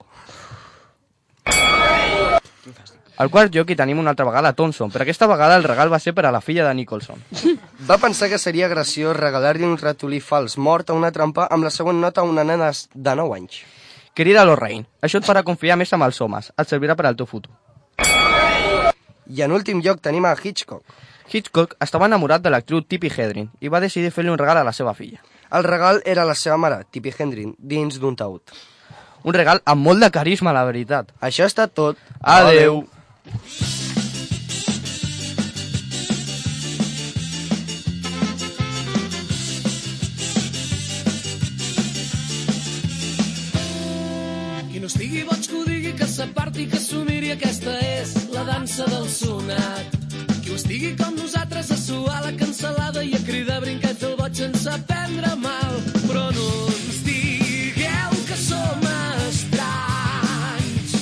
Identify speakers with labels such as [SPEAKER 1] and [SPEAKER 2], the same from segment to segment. [SPEAKER 1] Al quart lloc hi tenim una altra vegada a Thompson, però aquesta vegada el regal va ser per a la filla de Nicholson.
[SPEAKER 2] Va pensar que seria graciós regalar-li un ratolí fals mort a una trampa amb la següent nota a una nena de 9 anys.
[SPEAKER 1] Querida Lorraine, això et farà confiar més amb els homes, et servirà per al teu futur.
[SPEAKER 2] I en últim lloc tenim a Hitchcock.
[SPEAKER 1] Hitchcock estava enamorat de l'actriu Tippi Hedren i va decidir fer-li un regal a la seva filla.
[SPEAKER 2] El regal era la seva mare, Tippi Hendrin, dins d'un taüt.
[SPEAKER 1] Un regal amb molt de carisma, la veritat.
[SPEAKER 2] Això està tot.
[SPEAKER 1] Adeu.
[SPEAKER 3] Qui no estigui boig que ho digui, que s'aparti, que s'ho miri, aquesta és la dansa del sonat. Qui ho estigui com nosaltres a suar la cansalada i a cridar brinquet el boig sense prendre mal. Però no ens digueu que som estranys.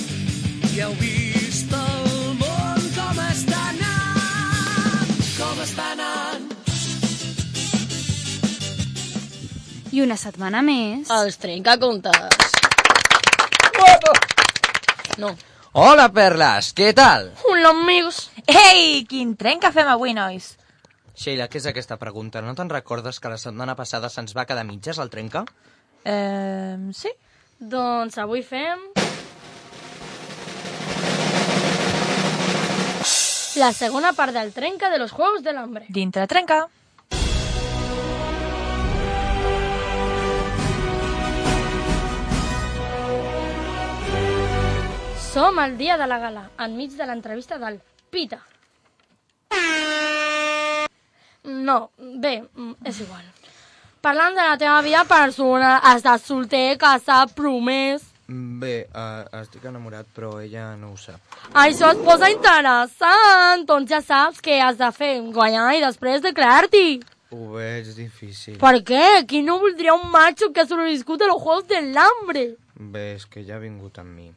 [SPEAKER 3] Ja heu vist el món com està anant, com està anant.
[SPEAKER 4] I una setmana més.
[SPEAKER 5] Ah,
[SPEAKER 6] Els trencacontes. No.
[SPEAKER 7] Hola, Perles, què tal?
[SPEAKER 6] Hola, amigos.
[SPEAKER 8] Ei, quin tren que fem avui, nois.
[SPEAKER 1] Sheila, què és aquesta pregunta? No te'n recordes que la setmana passada se'ns va quedar mitges al trenca?
[SPEAKER 8] Eh, sí.
[SPEAKER 6] Doncs avui fem...
[SPEAKER 8] La segona part del trenca de los Juegos del Hambre. Dintre trenca.
[SPEAKER 6] Som al dia de la gala, enmig de l'entrevista del Pita. No, bé, mm, és igual. Parlant de la teva vida personal, estàs solter, casat, promès...
[SPEAKER 1] Bé, uh, estic enamorat, però ella no ho sap.
[SPEAKER 6] Això es posa interessant, doncs ja saps què has de fer, guanyar i després declarar-t'hi.
[SPEAKER 1] Ho veig difícil.
[SPEAKER 6] Per què? Qui no voldria un macho que sobreviscut a los Juegos del Hambre?
[SPEAKER 1] Bé, és que ja ha vingut amb mi.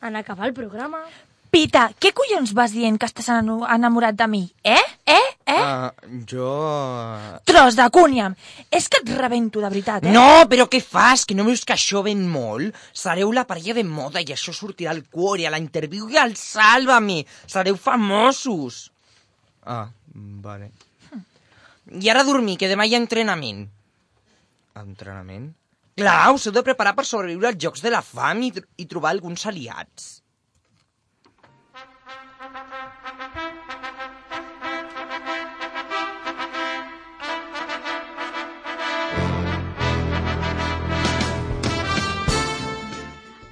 [SPEAKER 6] En acabar el programa...
[SPEAKER 8] Pita, què collons vas dient que estàs eno- enamorat de mi? Eh? Eh? Eh?
[SPEAKER 7] Ah,
[SPEAKER 1] Uh, jo...
[SPEAKER 7] eh,
[SPEAKER 8] Tros de cúniam! És que et rebento, de veritat, eh?
[SPEAKER 7] No, però què fas? Que no veus que això ven molt? Sereu la parella de moda i això sortirà al cuore, a la interviu i al sàlvame. Sereu famosos.
[SPEAKER 1] Ah, vale.
[SPEAKER 7] I ara a dormir, que demà hi ha entrenament.
[SPEAKER 1] Entrenament?
[SPEAKER 7] Clar, us heu de preparar per sobreviure als Jocs de la Fam i, tr i trobar alguns aliats.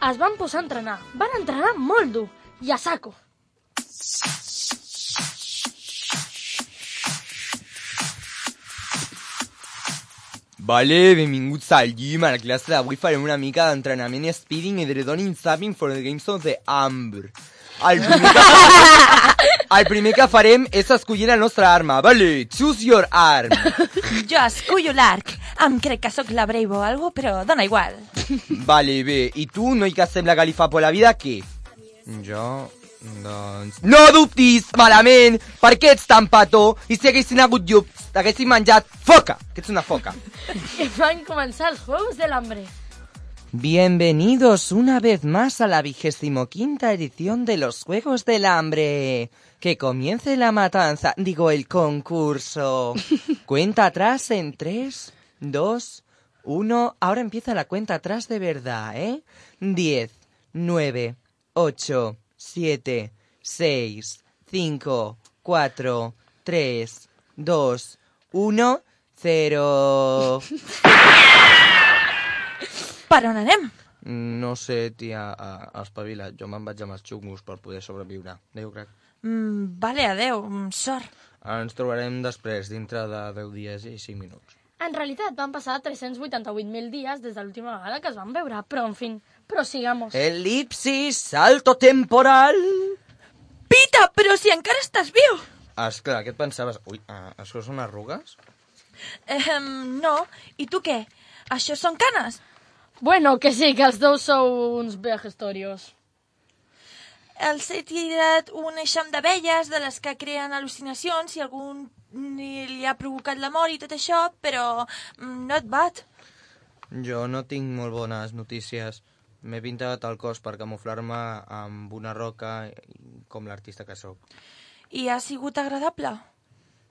[SPEAKER 6] Es van posar a entrenar. Van entrenar molt dur i a saco.
[SPEAKER 1] Vale, benvinguts al gym. A la classe d'avui farem una mica d'entrenament i speeding i dredoning zapping for the games of the Amber. El primer, que farem, el primer que farem és escollir la nostra arma. Vale, choose your arm.
[SPEAKER 8] Jo escullo l'arc. Em crec que sóc la Brave o algo, però dona igual.
[SPEAKER 1] Vale, bé. I tu, noi que sembla que li fa por la vida, què? Jo, doncs...
[SPEAKER 7] No dubtis malament per què ets tan petó i si haguessin hagut llums t'haguessin menjat foca, que ets una foca.
[SPEAKER 6] I van començar els Juegos de l'Hambre.
[SPEAKER 7] Bienvenidos una vez más a la vigésimo quinta edición de los Juegos del Hambre. Que comience la matanza, digo el concurso. Cuenta atrás en 3, 2, 1. Ahora empieza la cuenta atrás de verdad, ¿eh? 10, 9, 8, 7, 6, 5, 4, 3, 2, 1, 0.
[SPEAKER 8] Per on anem?
[SPEAKER 1] No sé, tia, eh, espavila. Jo me'n vaig amb els xungos per poder sobreviure. Adéu, crac.
[SPEAKER 8] Mm, vale, adeu, mm, sort.
[SPEAKER 1] Ens trobarem després, dintre de 10 dies i 5 minuts.
[SPEAKER 6] En realitat, van passar 388.000 dies des de l'última vegada que es van veure, però, en fin, prosigamos.
[SPEAKER 7] Eh. Elipsis, salto temporal.
[SPEAKER 8] Pita, però si encara estàs viu!
[SPEAKER 1] Esclar, què et pensaves? Ui, eh, això són arrugues?
[SPEAKER 8] Eh, no, i tu què? Això són canes?
[SPEAKER 6] Bueno, que sí, que els dos sou uns vejestorios.
[SPEAKER 8] Els he tirat un eixam d'abelles de les que creen al·lucinacions i algun ni li ha provocat la mort i tot això, però mm, no et bat.
[SPEAKER 1] Jo no tinc molt bones notícies. M'he pintat el cos per camuflar-me amb una roca i- com l'artista que sóc.
[SPEAKER 8] I ha sigut agradable.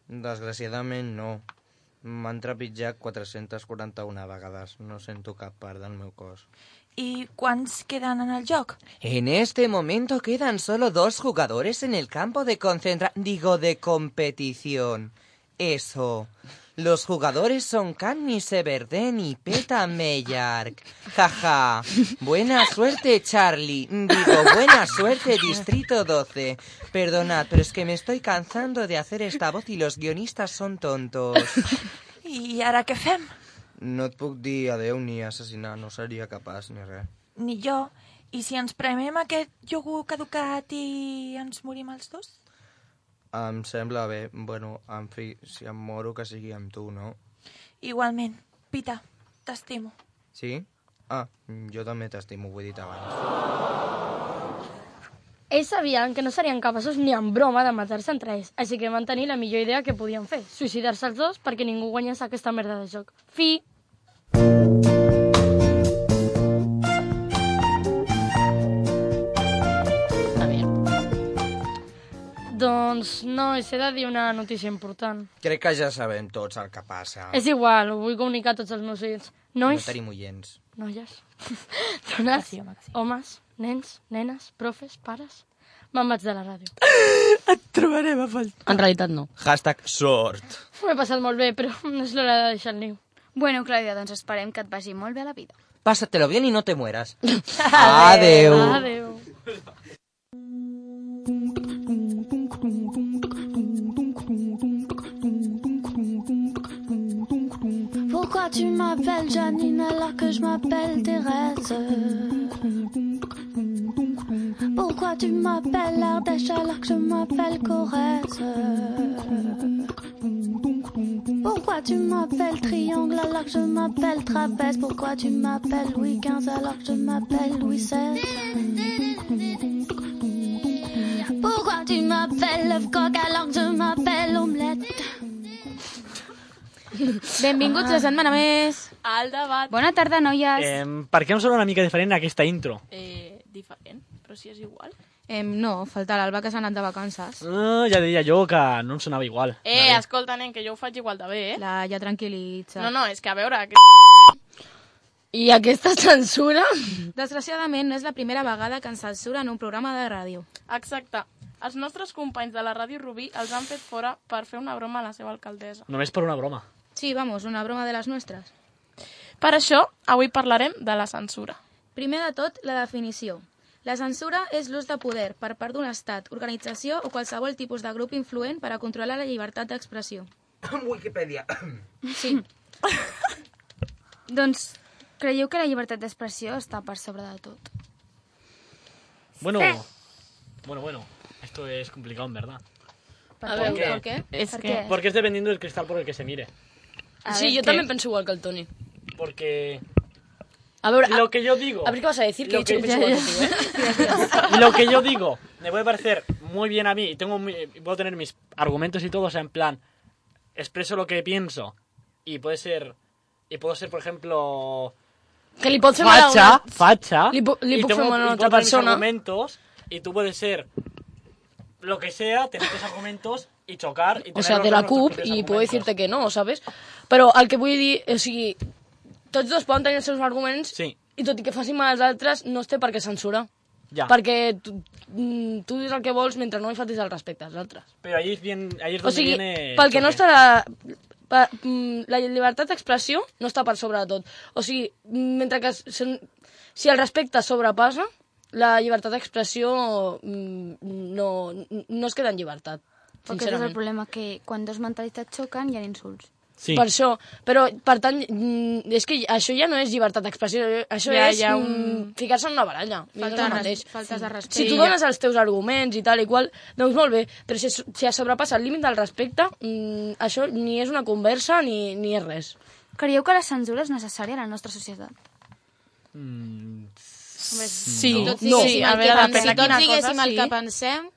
[SPEAKER 1] Desgraciadament, no. M'han trepitjat 441 vegades. No sento cap part del meu cos.
[SPEAKER 8] I quants queden en el joc?
[SPEAKER 7] En este momento quedan solo dos jugadores en el campo de concentra... digo de competición. Eso. Los jugadores son Canni Severden y Peta Meyark. Jaja. Buena suerte, Charlie. Digo, buena suerte, Distrito 12. Perdonad, pero es que me estoy cansando de hacer esta voz y los guionistas son tontos.
[SPEAKER 8] I ara què fem?
[SPEAKER 1] No et puc dir adeu ni assassinar, no seria capaç ni res.
[SPEAKER 8] Ni jo. I si ens prenem aquest iogurt caducat i ens morim els dos?
[SPEAKER 1] Em sembla bé. Bueno, en fi, si em moro que sigui amb tu, no?
[SPEAKER 8] Igualment. Pita, t'estimo.
[SPEAKER 1] Sí? Ah, jo també t'estimo, ho he dit abans.
[SPEAKER 6] Ells sabien que no serien capaços ni en broma de matar-se entre ells, així que van tenir la millor idea que podien fer, suïcidar-se els dos perquè ningú guanyés aquesta merda de joc. Fi! Doncs, no, he de dir una notícia important.
[SPEAKER 7] Crec que ja sabem tots el que passa.
[SPEAKER 6] És igual, ho vull comunicar a tots els meus oients. Nois,
[SPEAKER 7] Ah. No tenim oients.
[SPEAKER 6] noies, dones, homes, nens, nenes, profes, pares... Me'n vaig de la ràdio.
[SPEAKER 9] Trobarem a faltar. En realitat no.
[SPEAKER 7] Hashtag sort.
[SPEAKER 6] M'ho he passat molt bé, però no és l'hora de deixar el niu.
[SPEAKER 4] Bueno, Clàudia, doncs esperem que et vagi molt bé a la vida.
[SPEAKER 7] Pásatelo bien y no te mueras. Adeu.
[SPEAKER 6] Adéu.
[SPEAKER 10] Pourquoi tu m'appelles Janine alors que je m'appelle Thérèse Pourquoi tu m'appelles Ardèche alors que je m'appelle Corrèze Pourquoi tu m'appelles Triangle alors que je m'appelle Trapèze Pourquoi tu m'appelles Louis XV alors que je m'appelle Louis XVI Pourquoi tu m'appelles l'œuf coq alors que je m'appelle Omelette
[SPEAKER 5] Benvinguts la setmana més.
[SPEAKER 9] Al debat.
[SPEAKER 4] Bona tarda, noies.
[SPEAKER 11] Eh, per què em sona una mica diferent aquesta intro?
[SPEAKER 9] Eh, diferent, però si és igual.
[SPEAKER 12] Eh, no, falta l'Alba que s'ha anat de vacances.
[SPEAKER 11] Ah, ja deia jo que no em sonava igual.
[SPEAKER 9] Eh, escolta, nen, que jo ho faig igual de bé, eh?
[SPEAKER 12] La, ja tranquil·litza.
[SPEAKER 9] No, no, és que a veure... Que...
[SPEAKER 6] I aquesta censura?
[SPEAKER 12] Desgraciadament, no és la primera vegada que ens censuren un programa de ràdio.
[SPEAKER 9] Exacte. Els nostres companys de la Ràdio Rubí els han fet fora per fer una broma a la seva alcaldessa.
[SPEAKER 11] Només per una broma.
[SPEAKER 12] Sí, vamos, una broma de les nostres.
[SPEAKER 9] Per això, avui parlarem de la censura.
[SPEAKER 12] Primer de tot, la definició. La censura és l'ús de poder per part d'un estat, organització o qualsevol tipus de grup influent per a controlar la llibertat d'expressió.
[SPEAKER 7] Wikipedia.
[SPEAKER 12] Sí.
[SPEAKER 4] Doncs creieu que la llibertat d'expressió està per sobre de tot?
[SPEAKER 11] Bueno,
[SPEAKER 4] Sí.
[SPEAKER 11] bueno, bueno. Esto es complicado, en verdad.
[SPEAKER 12] Per A què? veure, ¿por qué?
[SPEAKER 9] Es
[SPEAKER 11] ¿Por
[SPEAKER 9] que-
[SPEAKER 11] qué? Porque es dependiendo del cristal por el que se mire.
[SPEAKER 9] A
[SPEAKER 13] sí,
[SPEAKER 9] ver,
[SPEAKER 13] yo
[SPEAKER 9] ¿qué?
[SPEAKER 13] también pienso igual que el Tony.
[SPEAKER 11] Porque
[SPEAKER 13] A ver,
[SPEAKER 11] lo que yo digo...
[SPEAKER 13] A ver qué vas a decir, que he
[SPEAKER 11] Lo
[SPEAKER 13] dicho que
[SPEAKER 11] que-
[SPEAKER 13] pienso
[SPEAKER 11] Ya,
[SPEAKER 13] igual que tú, ¿eh?
[SPEAKER 11] lo que yo digo me puede parecer muy bien a mí y tengo mi- puedo tener mis argumentos y todo, o sea, en plan, expreso lo que pienso y puede ser... Y puedo ser, por ejemplo...
[SPEAKER 13] Que li pot fer mal a
[SPEAKER 11] facha,
[SPEAKER 13] una-
[SPEAKER 11] facha.
[SPEAKER 13] Li pu- li
[SPEAKER 11] y
[SPEAKER 13] puc
[SPEAKER 11] tengo-
[SPEAKER 13] fer mal a
[SPEAKER 11] y
[SPEAKER 13] una
[SPEAKER 11] puedo
[SPEAKER 13] altra
[SPEAKER 11] tener mis
[SPEAKER 13] persona.
[SPEAKER 11] argumentos y tú puedes ser lo que sea, tener tus argumentos y chocar. Y
[SPEAKER 13] O
[SPEAKER 11] tener
[SPEAKER 13] sea,
[SPEAKER 11] los
[SPEAKER 13] de la
[SPEAKER 11] nuestros
[SPEAKER 13] CUP
[SPEAKER 11] propios
[SPEAKER 13] i puedo decirte que no, ¿sabes? Però el que vull dir, o sigui, tots dos poden tenir els seus arguments
[SPEAKER 11] sí.
[SPEAKER 13] i tot i que facin mal als altres, no es té per què censurar.
[SPEAKER 11] Ja.
[SPEAKER 13] Perquè tu, mm, tu dius el que vols mentre no hi faltis el respecte als altres.
[SPEAKER 11] Pero ahí es, bien, ahí es
[SPEAKER 13] O
[SPEAKER 11] donde
[SPEAKER 13] sigui,
[SPEAKER 11] viene...
[SPEAKER 13] pel que no
[SPEAKER 11] choque.
[SPEAKER 13] està la, per, mm, la llibertat d'expressió no està per sobre de tot. O sigui, mm, mentre que si, si el respecte sobrepassa, la llibertat d'expressió mm, no, no es queda en llibertat,
[SPEAKER 4] Perquè aquest és
[SPEAKER 13] sincerament.
[SPEAKER 4] el problema, que quan dos mentalitats xoquen hi ha insults.
[SPEAKER 13] Sí. Per això, però per tant, mm, és que això ja no és llibertat d'expressió, això
[SPEAKER 12] Ja,
[SPEAKER 13] és
[SPEAKER 12] ja
[SPEAKER 13] mm,
[SPEAKER 12] un-
[SPEAKER 13] ficar-se en una baralla.
[SPEAKER 12] Falta
[SPEAKER 13] és el
[SPEAKER 12] de res-
[SPEAKER 13] mateix.
[SPEAKER 12] faltes de respecte.
[SPEAKER 13] Si tu
[SPEAKER 12] Sí,
[SPEAKER 13] dones
[SPEAKER 12] ja.
[SPEAKER 13] els teus arguments i tal i qual, doncs molt bé, però si, si sobrepassa el límit del respecte, mm, això ni és una conversa ni, ni és res.
[SPEAKER 4] Creieu que la censura és necessària a la nostra societat?
[SPEAKER 11] Mm,
[SPEAKER 13] Sí,
[SPEAKER 12] Tots
[SPEAKER 13] no.
[SPEAKER 12] diguéssim
[SPEAKER 13] Sí,
[SPEAKER 12] el
[SPEAKER 13] a
[SPEAKER 12] que
[SPEAKER 13] veure,
[SPEAKER 12] pensem.
[SPEAKER 13] depèn de
[SPEAKER 12] Tots
[SPEAKER 13] quina
[SPEAKER 12] diguéssim
[SPEAKER 13] cosa,
[SPEAKER 12] el
[SPEAKER 13] sí.
[SPEAKER 12] que pensem.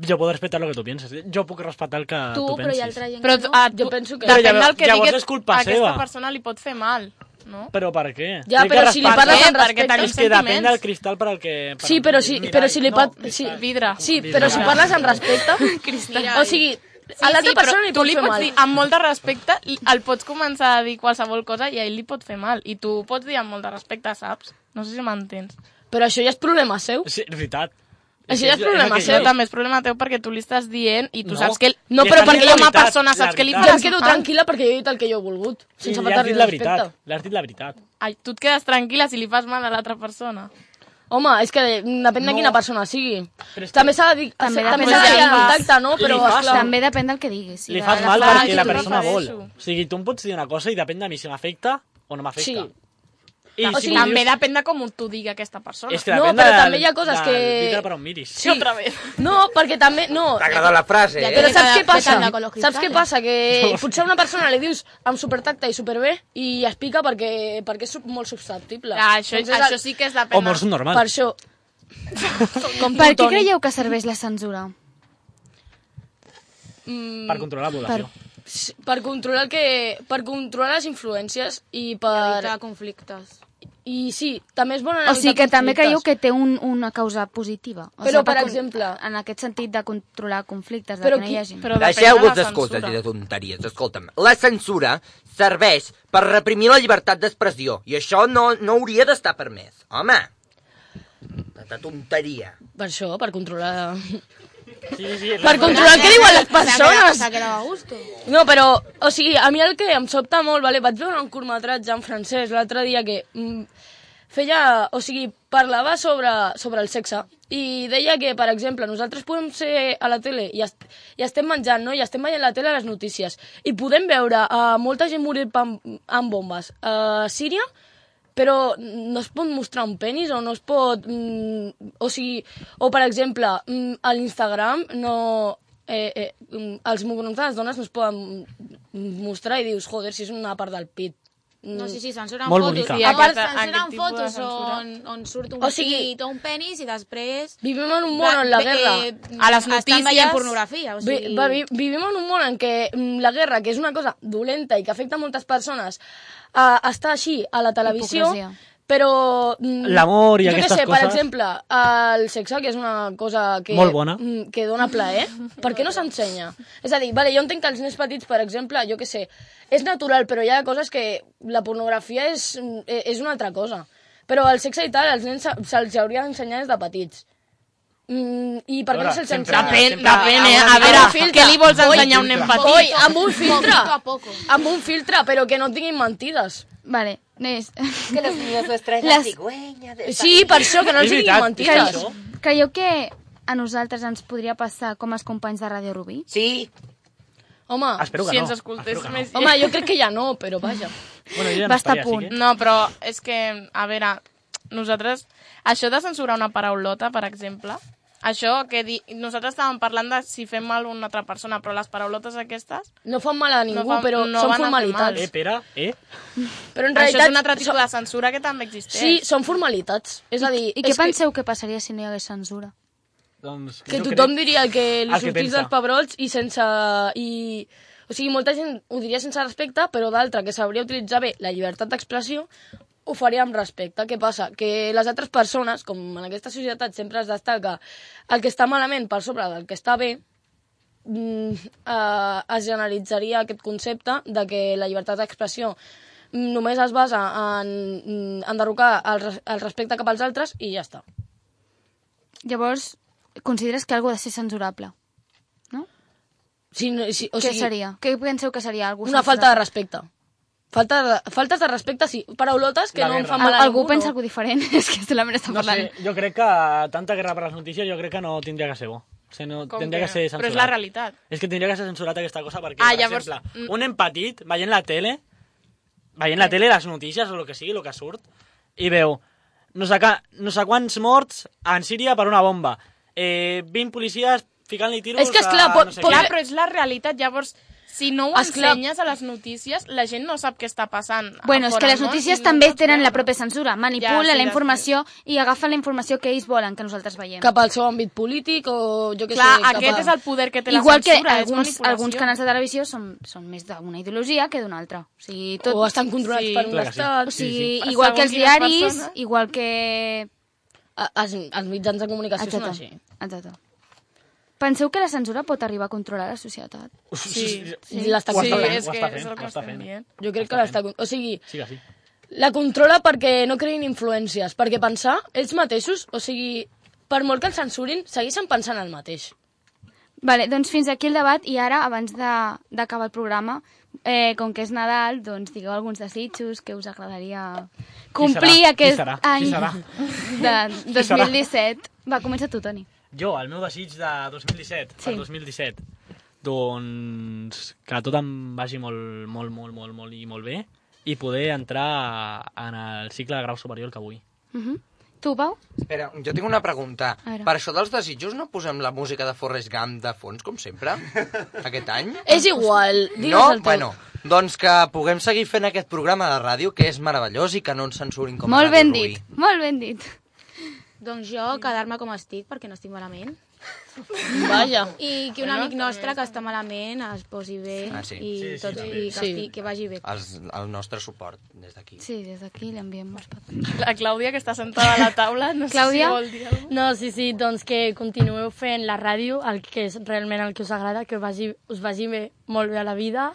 [SPEAKER 11] Yo puedo respetar lo que tú piensas. Yo puedo respetar el que tú, pensis.
[SPEAKER 12] Però,
[SPEAKER 9] Però, ah, tu,
[SPEAKER 13] jo penso que-
[SPEAKER 9] Depèn
[SPEAKER 11] Però
[SPEAKER 9] del
[SPEAKER 11] llavors-
[SPEAKER 9] que
[SPEAKER 11] llavors
[SPEAKER 9] digui
[SPEAKER 11] és culpa
[SPEAKER 9] aquesta
[SPEAKER 11] seva.
[SPEAKER 9] persona li pot fer mal, no?
[SPEAKER 11] ¿Pero para qué?
[SPEAKER 9] Ya,
[SPEAKER 11] Hay que
[SPEAKER 9] pero si le
[SPEAKER 11] respetar.
[SPEAKER 9] paras al
[SPEAKER 11] Porque
[SPEAKER 9] respeto,
[SPEAKER 11] tal-
[SPEAKER 9] hay
[SPEAKER 11] Es que depende
[SPEAKER 9] sentimientos.
[SPEAKER 11] del cristal para el que... para
[SPEAKER 13] Sí,
[SPEAKER 11] el
[SPEAKER 13] però
[SPEAKER 11] que
[SPEAKER 13] si,
[SPEAKER 11] miráis,
[SPEAKER 13] però si li
[SPEAKER 11] no.
[SPEAKER 13] pot... Sí, vidre. Sí, però si parles amb respecte...
[SPEAKER 9] Cristal.
[SPEAKER 13] O sigui, a l'altra
[SPEAKER 9] però
[SPEAKER 13] persona li
[SPEAKER 9] tu
[SPEAKER 13] pot
[SPEAKER 9] li
[SPEAKER 13] fer
[SPEAKER 9] pots
[SPEAKER 13] mal.
[SPEAKER 9] dir, amb molt de respecte, li- el pots començar a dir qualsevol cosa i a ell li pot fer mal. I tu ho pots dir amb molt de respecte, saps? No sé si m'entens.
[SPEAKER 13] Però això ja és problema seu.
[SPEAKER 11] Sí, és veritat.
[SPEAKER 9] Això ja és problema seu, també és problema teu perquè tu li estàs dient i tu
[SPEAKER 13] No.
[SPEAKER 9] saps que... ell-
[SPEAKER 13] No,
[SPEAKER 9] li
[SPEAKER 13] però
[SPEAKER 9] estàs
[SPEAKER 13] perquè
[SPEAKER 9] dient
[SPEAKER 13] jo
[SPEAKER 9] com a
[SPEAKER 13] m'ha-
[SPEAKER 9] persona
[SPEAKER 11] la
[SPEAKER 9] saps que li
[SPEAKER 11] veritat.
[SPEAKER 9] faràs
[SPEAKER 13] Jo em quedo
[SPEAKER 9] mal.
[SPEAKER 13] tranquilla perquè jo he dit el que jo he volgut,
[SPEAKER 11] Sí,
[SPEAKER 13] sense
[SPEAKER 11] li has
[SPEAKER 13] faltar-li
[SPEAKER 11] dit la
[SPEAKER 13] respecte.
[SPEAKER 11] veritat. Li has dit la veritat.
[SPEAKER 9] Ai, tu et quedes tranquil·la si li fas mal a l'altra persona.
[SPEAKER 13] Home, és que depèn de
[SPEAKER 9] No.
[SPEAKER 13] quina persona sigui. També s'ha de dir... També, també s'ha de dir el contacte, no? Però, esclar...
[SPEAKER 4] també Eh, depèn del que diguis.
[SPEAKER 11] Li fas mal perquè la persona vol. O sigui, tu em pots dir una cosa i depèn de mi si m'afecta o no m'afecta. I
[SPEAKER 9] o
[SPEAKER 11] si
[SPEAKER 9] sigui,
[SPEAKER 11] ho
[SPEAKER 9] també
[SPEAKER 11] dius-
[SPEAKER 9] depèn de com t'ho digui aquesta persona.
[SPEAKER 11] És que depèn
[SPEAKER 13] però
[SPEAKER 11] del-
[SPEAKER 13] també hi ha coses
[SPEAKER 11] del
[SPEAKER 13] que-
[SPEAKER 11] vidre per on miris.
[SPEAKER 13] Sí, otra vez. No, perquè també... No,
[SPEAKER 7] T'ha agradat la frase, eh?
[SPEAKER 13] Però saps què passa?
[SPEAKER 7] Petanda con los
[SPEAKER 13] Saps què
[SPEAKER 7] cristales.
[SPEAKER 13] passa? Que
[SPEAKER 7] No.
[SPEAKER 13] potser a una persona li dius amb supertacte i superbé i es pica perquè, perquè és molt susceptible. Doncs
[SPEAKER 9] Ah, això-
[SPEAKER 13] és
[SPEAKER 9] això sí que és la
[SPEAKER 11] pena. Home, és normal.
[SPEAKER 13] Per això...
[SPEAKER 4] Com per què creieu que serveix la censura?
[SPEAKER 9] Mm.
[SPEAKER 11] Per controlar la població.
[SPEAKER 13] S- mm, per controlar el que... Per controlar les influències i per...
[SPEAKER 12] evitar conflictes.
[SPEAKER 13] I sí, també és
[SPEAKER 12] Ah,
[SPEAKER 13] bona
[SPEAKER 4] O sigui que també creieu que té un, una causa positiva. O
[SPEAKER 13] Però, per
[SPEAKER 4] con-
[SPEAKER 13] exemple-
[SPEAKER 4] En aquest sentit de controlar conflictes, de
[SPEAKER 13] Però
[SPEAKER 4] que no
[SPEAKER 13] qui-
[SPEAKER 4] hi hagi.
[SPEAKER 1] Deixeu-vos d'excuses i de tonteries, escolta'm. La censura serveix per reprimir la llibertat d'expressió i això no, no hauria d'estar permès. Home, tanta tonteria.
[SPEAKER 13] Per això, per controlar...
[SPEAKER 11] Sí, sí,
[SPEAKER 13] Per controlar què diuen les persones.
[SPEAKER 12] S'ha quedat a gusto.
[SPEAKER 13] No, però, o sigui, a mi el que em sobta molt, vale, vaig veure un curtmetratge en francès l'altre dia que mm, feia, o sigui, parlava sobre, sobre el sexe i deia que, per exemple, nosaltres podem ser a la tele i, est i estem menjant, no?, i estem veient la tele a les notícies i podem veure a molta gent morir pam- amb bombes a Síria, però no es pot mostrar un penis o no es pot... Mm, o sigui, o per exemple, mm, a l'Instagram no... Eh, eh, mm, els mugrons de les dones no es poden mm, mostrar i dius, joder, si és una part del pit. Mm.
[SPEAKER 12] No, sí, sí, censuren
[SPEAKER 13] Molt
[SPEAKER 12] fotos.
[SPEAKER 13] bonica.
[SPEAKER 12] A
[SPEAKER 13] Aquest-
[SPEAKER 12] part,
[SPEAKER 13] aquest
[SPEAKER 12] censuren
[SPEAKER 13] tipus de
[SPEAKER 12] fotos
[SPEAKER 13] censura.
[SPEAKER 12] on, on surt un
[SPEAKER 13] O sigui-
[SPEAKER 12] pit o un penis i després...
[SPEAKER 13] Vivim en un món on la
[SPEAKER 12] Ve-
[SPEAKER 13] guerra...
[SPEAKER 12] eh, A les estan veient notícies- pornografia, o sigui-
[SPEAKER 13] Vi, va, vi, vivim en un món en què mm, la guerra, que és una cosa dolenta i que afecta moltes persones, eh, està així a la televisió...
[SPEAKER 11] Hipocresia.
[SPEAKER 13] Però... mm,
[SPEAKER 11] L'amor i
[SPEAKER 13] jo què
[SPEAKER 11] aquestes
[SPEAKER 13] sé,
[SPEAKER 11] coses.
[SPEAKER 13] Per exemple, el sexe, que és una cosa que...
[SPEAKER 11] Molt bona.
[SPEAKER 13] mm, Que dona plaer, per què no s'ensenya? És a dir, vale, jo entenc que els nens petits, per exemple, jo què sé, és natural, però hi ha coses que la pornografia és, mm, eh, és una altra cosa. Però el sexe i tal, als nens se- se'ls hauria d'ensenyar des de petits. Mm, I per què no
[SPEAKER 9] Veure,
[SPEAKER 13] se'ls
[SPEAKER 9] sempre-
[SPEAKER 13] ensenya?
[SPEAKER 9] Depèn- sempre- depèn, eh? A veure, què li vols ensenyar a un nen petit?
[SPEAKER 13] Coi, amb un filtre.
[SPEAKER 9] Poco a
[SPEAKER 13] Amb un filtre, però que no tinguin mentides.
[SPEAKER 4] Vale, Nés.
[SPEAKER 13] Que los niños les traen
[SPEAKER 4] la
[SPEAKER 13] cigüeña. Sí, per això, que no els diguin mentides.
[SPEAKER 4] Creieu- Creieu que a nosaltres ens podria passar com als companys de Ràdio Rubí?
[SPEAKER 1] Sí.
[SPEAKER 13] Home,
[SPEAKER 4] Ah,
[SPEAKER 9] Espero que si no. ens escoltés Espero que no. més gent.
[SPEAKER 13] Home, jo crec que ja no, però vaja.
[SPEAKER 9] Bueno,
[SPEAKER 13] ja no Va estar estaria, a punt. sí que-
[SPEAKER 9] No, però és que, a veure, nosaltres... Això de censurar una paraulota, per exemple, això que di... nosaltres estàvem parlant de si fem mal a una altra persona, però les paraulotes aquestes...
[SPEAKER 13] No fan mal a ningú,
[SPEAKER 9] fan-
[SPEAKER 13] però són
[SPEAKER 9] van a fer mal.
[SPEAKER 13] formalitats.
[SPEAKER 11] Eh, Pere, eh?
[SPEAKER 13] Però en
[SPEAKER 9] Això és
[SPEAKER 13] realitat...
[SPEAKER 9] un altre tipus
[SPEAKER 13] són-
[SPEAKER 9] de censura que també existeix.
[SPEAKER 13] Sí, són formalitats. És a dir...
[SPEAKER 4] I què
[SPEAKER 13] és que-
[SPEAKER 4] penseu que passaria si no hi hagués censura?
[SPEAKER 11] Doncs,
[SPEAKER 13] Que
[SPEAKER 11] jo
[SPEAKER 13] tothom
[SPEAKER 11] crec-
[SPEAKER 13] diria que
[SPEAKER 11] El
[SPEAKER 13] li
[SPEAKER 11] que
[SPEAKER 13] sortís
[SPEAKER 11] pensa.
[SPEAKER 13] dels pebrots i sense... I, o sigui, molta gent ho diria sense respecte, però d'altra, que sabria utilitzar bé la llibertat d'expressió, ho faria amb respecte. Què passa? Que les altres persones, com en aquesta societat sempre es destaca el que està malament per sobre del que està bé, mm, eh, es generalitzaria aquest concepte de que la llibertat d'expressió mm, només es basa en mm, enderrocar el, res- el respecte cap als altres i ja està.
[SPEAKER 4] Llavors, consideres que algo ha de ser censurable?
[SPEAKER 13] Si, no- si, o
[SPEAKER 4] Què
[SPEAKER 13] sigui,
[SPEAKER 4] seria? Què penseu que seria algo
[SPEAKER 13] Una falta de respecte. Falta de, faltes de respecte, sí. Paraulotes que
[SPEAKER 11] La
[SPEAKER 13] no em
[SPEAKER 11] guerra.
[SPEAKER 13] fan mal a
[SPEAKER 4] Algú
[SPEAKER 13] ningú.
[SPEAKER 4] pensa
[SPEAKER 13] no.
[SPEAKER 4] algo diferent? És que solament està
[SPEAKER 11] No
[SPEAKER 4] parlant.
[SPEAKER 11] sé, jo crec que tanta guerra per les notícies jo crec que no tindria que ser bo. O sigui, no,
[SPEAKER 9] Com
[SPEAKER 11] tindria que,
[SPEAKER 9] que-
[SPEAKER 11] ser censurat.
[SPEAKER 9] però és la realitat.
[SPEAKER 11] És que tindria que ser censurat aquesta cosa perquè,
[SPEAKER 9] Ah,
[SPEAKER 11] per
[SPEAKER 9] llavors-
[SPEAKER 11] exemple,
[SPEAKER 9] mm.
[SPEAKER 11] un nen petit veient la tele, veient la tele, les notícies o el que sigui, el que surt, i veu no sé, ca- no sé quants morts en Síria per una bomba, eh, 20 policies ficant-li tiros
[SPEAKER 9] És que,
[SPEAKER 11] a
[SPEAKER 9] esclar,
[SPEAKER 11] no
[SPEAKER 9] pot,
[SPEAKER 11] sé què.
[SPEAKER 9] pot... clar, però és la realitat. Llavors, si no ho
[SPEAKER 4] Esclar.
[SPEAKER 9] ensenyes a les notícies, la gent no sap què està passant. a
[SPEAKER 4] Bueno, és
[SPEAKER 9] fora,
[SPEAKER 4] que les
[SPEAKER 9] no?
[SPEAKER 4] notícies
[SPEAKER 9] Si no-
[SPEAKER 4] també tenen la pròpia censura.
[SPEAKER 9] Ja, sí,
[SPEAKER 4] Manipulen
[SPEAKER 9] ja
[SPEAKER 4] la informació i agafen la informació que ells volen que nosaltres veiem.
[SPEAKER 13] Cap al seu àmbit polític o jo què
[SPEAKER 4] Clar,
[SPEAKER 13] sé. cap
[SPEAKER 4] aquest
[SPEAKER 13] a-
[SPEAKER 4] és el
[SPEAKER 9] poder que
[SPEAKER 4] Igual que
[SPEAKER 13] és
[SPEAKER 4] alguns,
[SPEAKER 13] manipulació.
[SPEAKER 4] alguns canals de televisió són, són més d'una ideologia que d'una altra. O, sigui, tot...
[SPEAKER 13] O estan controlats per un Clar que sí. estat.
[SPEAKER 4] O sigui,
[SPEAKER 13] Sí, sí.
[SPEAKER 4] igual que els
[SPEAKER 13] Segons quines
[SPEAKER 4] diaris,
[SPEAKER 13] persones.
[SPEAKER 4] igual que...
[SPEAKER 13] A- Els, els mitjans de comunicació són així.
[SPEAKER 4] Exacte. Penseu que la censura pot arribar a controlar la societat?
[SPEAKER 13] Sí,
[SPEAKER 4] Sí.
[SPEAKER 13] l'està
[SPEAKER 4] Ho està
[SPEAKER 13] controlant.
[SPEAKER 4] fent, Sí, és ho que està és fent, el que ho està estem fent. dient.
[SPEAKER 13] Jo crec que l'està... con- O sigui,
[SPEAKER 11] Sí, que sí.
[SPEAKER 13] la controla perquè no creïn influències, perquè pensar ells mateixos, o sigui, per molt que els censurin, segueixen pensant el mateix.
[SPEAKER 4] Vale, doncs fins aquí el debat i ara, abans de- d'acabar el programa, eh, com que és Nadal, doncs digueu alguns desitjos que us agradaria complir
[SPEAKER 11] serà? Qui
[SPEAKER 4] aquest
[SPEAKER 11] serà? Qui
[SPEAKER 4] any
[SPEAKER 11] serà?
[SPEAKER 4] de
[SPEAKER 11] Qui
[SPEAKER 4] 2017. Va, comença tu, Toni.
[SPEAKER 11] Jo, el meu desig de 2017, sí.
[SPEAKER 4] Sí.
[SPEAKER 11] per 2017, doncs que tot em vagi molt, molt, molt, molt, molt i molt bé i poder entrar en el cicle de grau superior que vull.
[SPEAKER 4] Tu, Pau?
[SPEAKER 1] Mhm. Espera, jo tinc una pregunta.
[SPEAKER 4] A veure.
[SPEAKER 1] Per això dels desitjos no posem la música de Forrest Gump de fons, com sempre? Aquest any?
[SPEAKER 13] És igual, digues
[SPEAKER 1] no?
[SPEAKER 13] el teu.
[SPEAKER 1] Bueno, doncs que puguem seguir fent aquest programa de ràdio, que és meravellós, i que no ens censurin com a
[SPEAKER 4] molt
[SPEAKER 1] Ràdio
[SPEAKER 4] ben
[SPEAKER 1] Rubí.
[SPEAKER 4] dit, molt ben dit.
[SPEAKER 12] Doncs jo quedar-me com estic perquè no estic malament.
[SPEAKER 13] Vaja.
[SPEAKER 12] I que un
[SPEAKER 13] Bueno,
[SPEAKER 12] amic nostre que està malament es posi bé
[SPEAKER 1] Ah, sí.
[SPEAKER 12] i,
[SPEAKER 1] Sí, sí,
[SPEAKER 12] tot,
[SPEAKER 1] també.
[SPEAKER 12] i que,
[SPEAKER 1] Sí.
[SPEAKER 12] estigui, que vagi bé.
[SPEAKER 1] Els, el nostre suport des d'aquí.
[SPEAKER 12] Sí, des d'aquí li enviem molts petons.
[SPEAKER 9] La Clàudia, que està sentada a la taula, Ah, no sé si vol dir alguna
[SPEAKER 6] No, sí, sí, doncs que continueu fent la ràdio, el que és realment el que us agrada, que us vagi, us vagi bé, molt bé a la vida,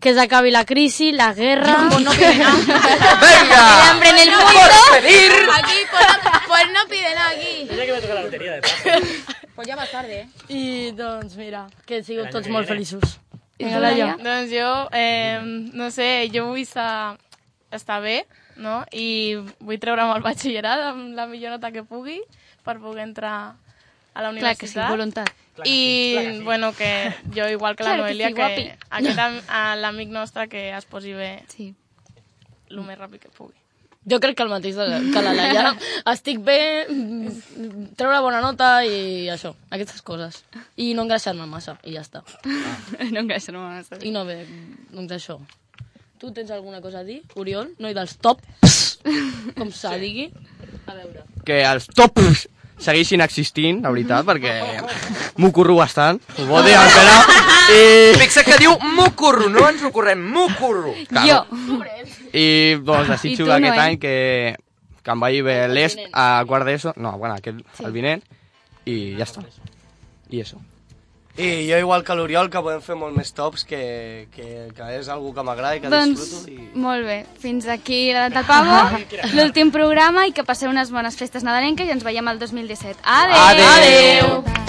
[SPEAKER 6] que s'acabi la crisi, la guerra... No, no,
[SPEAKER 4] El hambre en el mundo.
[SPEAKER 12] Aquí, pues no, pues no piden aquí.
[SPEAKER 11] Mira que me toca la lotería, de paso.
[SPEAKER 12] Pues ja vas tarde, eh?
[SPEAKER 6] I doncs mira, que sigueu
[SPEAKER 11] L'any
[SPEAKER 6] tots
[SPEAKER 11] que
[SPEAKER 6] molt
[SPEAKER 11] viene.
[SPEAKER 6] feliços.
[SPEAKER 9] I
[SPEAKER 6] Vinga,
[SPEAKER 9] tu,
[SPEAKER 6] Laia.
[SPEAKER 9] Doncs jo, eh, no sé, jo vull estar, estar bé, no? I vull treure'm el batxillerat amb la millor nota que pugui per poder entrar a la
[SPEAKER 4] Clar que
[SPEAKER 9] universitat.
[SPEAKER 4] sí, voluntat.
[SPEAKER 9] I, bueno, que jo, igual que la
[SPEAKER 4] Clar que
[SPEAKER 9] Noelia,
[SPEAKER 4] sí,
[SPEAKER 9] que,
[SPEAKER 4] guapi.
[SPEAKER 9] aquest am- a l'amic nostre que es posi bé
[SPEAKER 4] sí.
[SPEAKER 9] el més ràpid que pugui.
[SPEAKER 13] Jo crec que el mateix de la- que la Laia. Estic bé, mm, treure bona nota i això, aquestes coses. I no engreixar-me massa, i ja està.
[SPEAKER 4] Ah. No engreixar-me massa.
[SPEAKER 13] I no, bé, doncs això. Tu tens alguna cosa a dir, Oriol? Noi dels tops, com se digui. A veure.
[SPEAKER 14] que els tops segueixin existint, la veritat, perquè m'ho curro bastant, ho vol dir encara. I...
[SPEAKER 15] Fixa que diu mucurro, no ens ho correm, mucurro.
[SPEAKER 14] Claro. I doncs
[SPEAKER 15] I tu
[SPEAKER 14] desitjo que
[SPEAKER 15] no,
[SPEAKER 14] aquest
[SPEAKER 15] eh?
[SPEAKER 14] any que, que em vagi bé l'est a quart d'ESO, no, bueno, aquest, el vinent, i ja està. I això.
[SPEAKER 2] I jo, igual que l'Oriol, que podem fer molt més tops, que, que, que és algú que m'agrada i que
[SPEAKER 4] Doncs,
[SPEAKER 2] disfruto. I...
[SPEAKER 4] molt bé. Fins aquí la data Pavo, l'últim programa i que passeu unes bones festes nadalenques i ens veiem el 2017. Adeu!
[SPEAKER 2] Adeu!
[SPEAKER 4] Adeu.